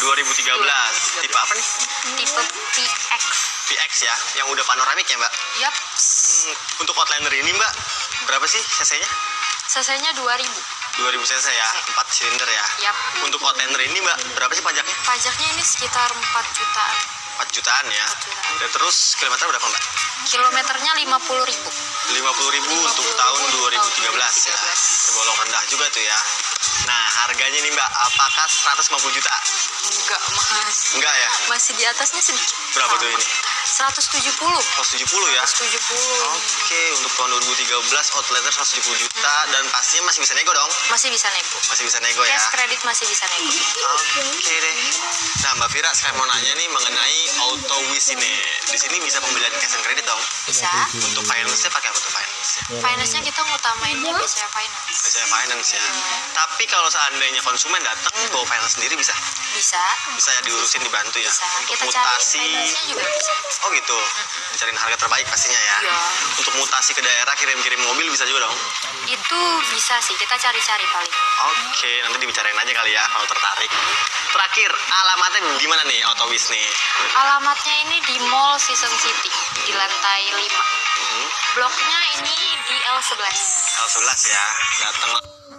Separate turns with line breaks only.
2013. Tipe apa nih?
tipe PX
VX ya, yang udah panoramik ya mbak.
yap
Hmm, Untuk outliner ini mbak, berapa sih cc-nya?
cc-nya 2000
2000 cc ya, 4 silinder ya.
yap
Untuk outliner ini mbak, berapa sih pajaknya?
pajaknya ini sekitar 4 jutaan
4 jutaan ya.
4 jutaan
Dan terus kilometer berapa mbak?
kilometernya 50 ribu
50.000 untuk tahun 2013 ya.
2013.
Tergolong rendah juga tuh ya. Nah, harganya nih mbak, apakah 150 juta?
enggak mas
Enggak ya?
masih di atasnya sedikit
Berapa tuh ini?
170
170 ya?
170
Oke, untuk tahun 2013 outliner 170 juta dan pastinya masih bisa nego dong.
masih bisa nego
Masih bisa nego ya.
cash kredit masih bisa nego
Oke deh. Nah, Mbak Vira, saya mau nanya nih mengenai auto wish ini. Di sini bisa pembelian cash and credit dong.
bisa
Untuk finance-nya pakai apa tuh finance? ya?
finance-nya kita ngutamain BCA finance
Biasanya finance ya.
Hmm.
Tapi kalau seandainya konsumen datang bawa finance sendiri bisa.
bisa
Bisa ya diurusin dibantu ya.
bisa
Untuk
kita cari
mutasi.
finance-nya juga bisa
Oh gitu. Dicariin harga terbaik pastinya ya.
Iya.
Untuk mutasi ke daerah kirim-kirim mobil bisa juga dong.
itu bisa sih kita cari-cari paling
Oke, nanti dibicarain aja kali ya kalau tertarik. Terakhir, alamatnya di mana nih Otowis nih?
alamatnya ini di Mall Season City di lantai 5 bloknya ini di L11
L11 ya. Datang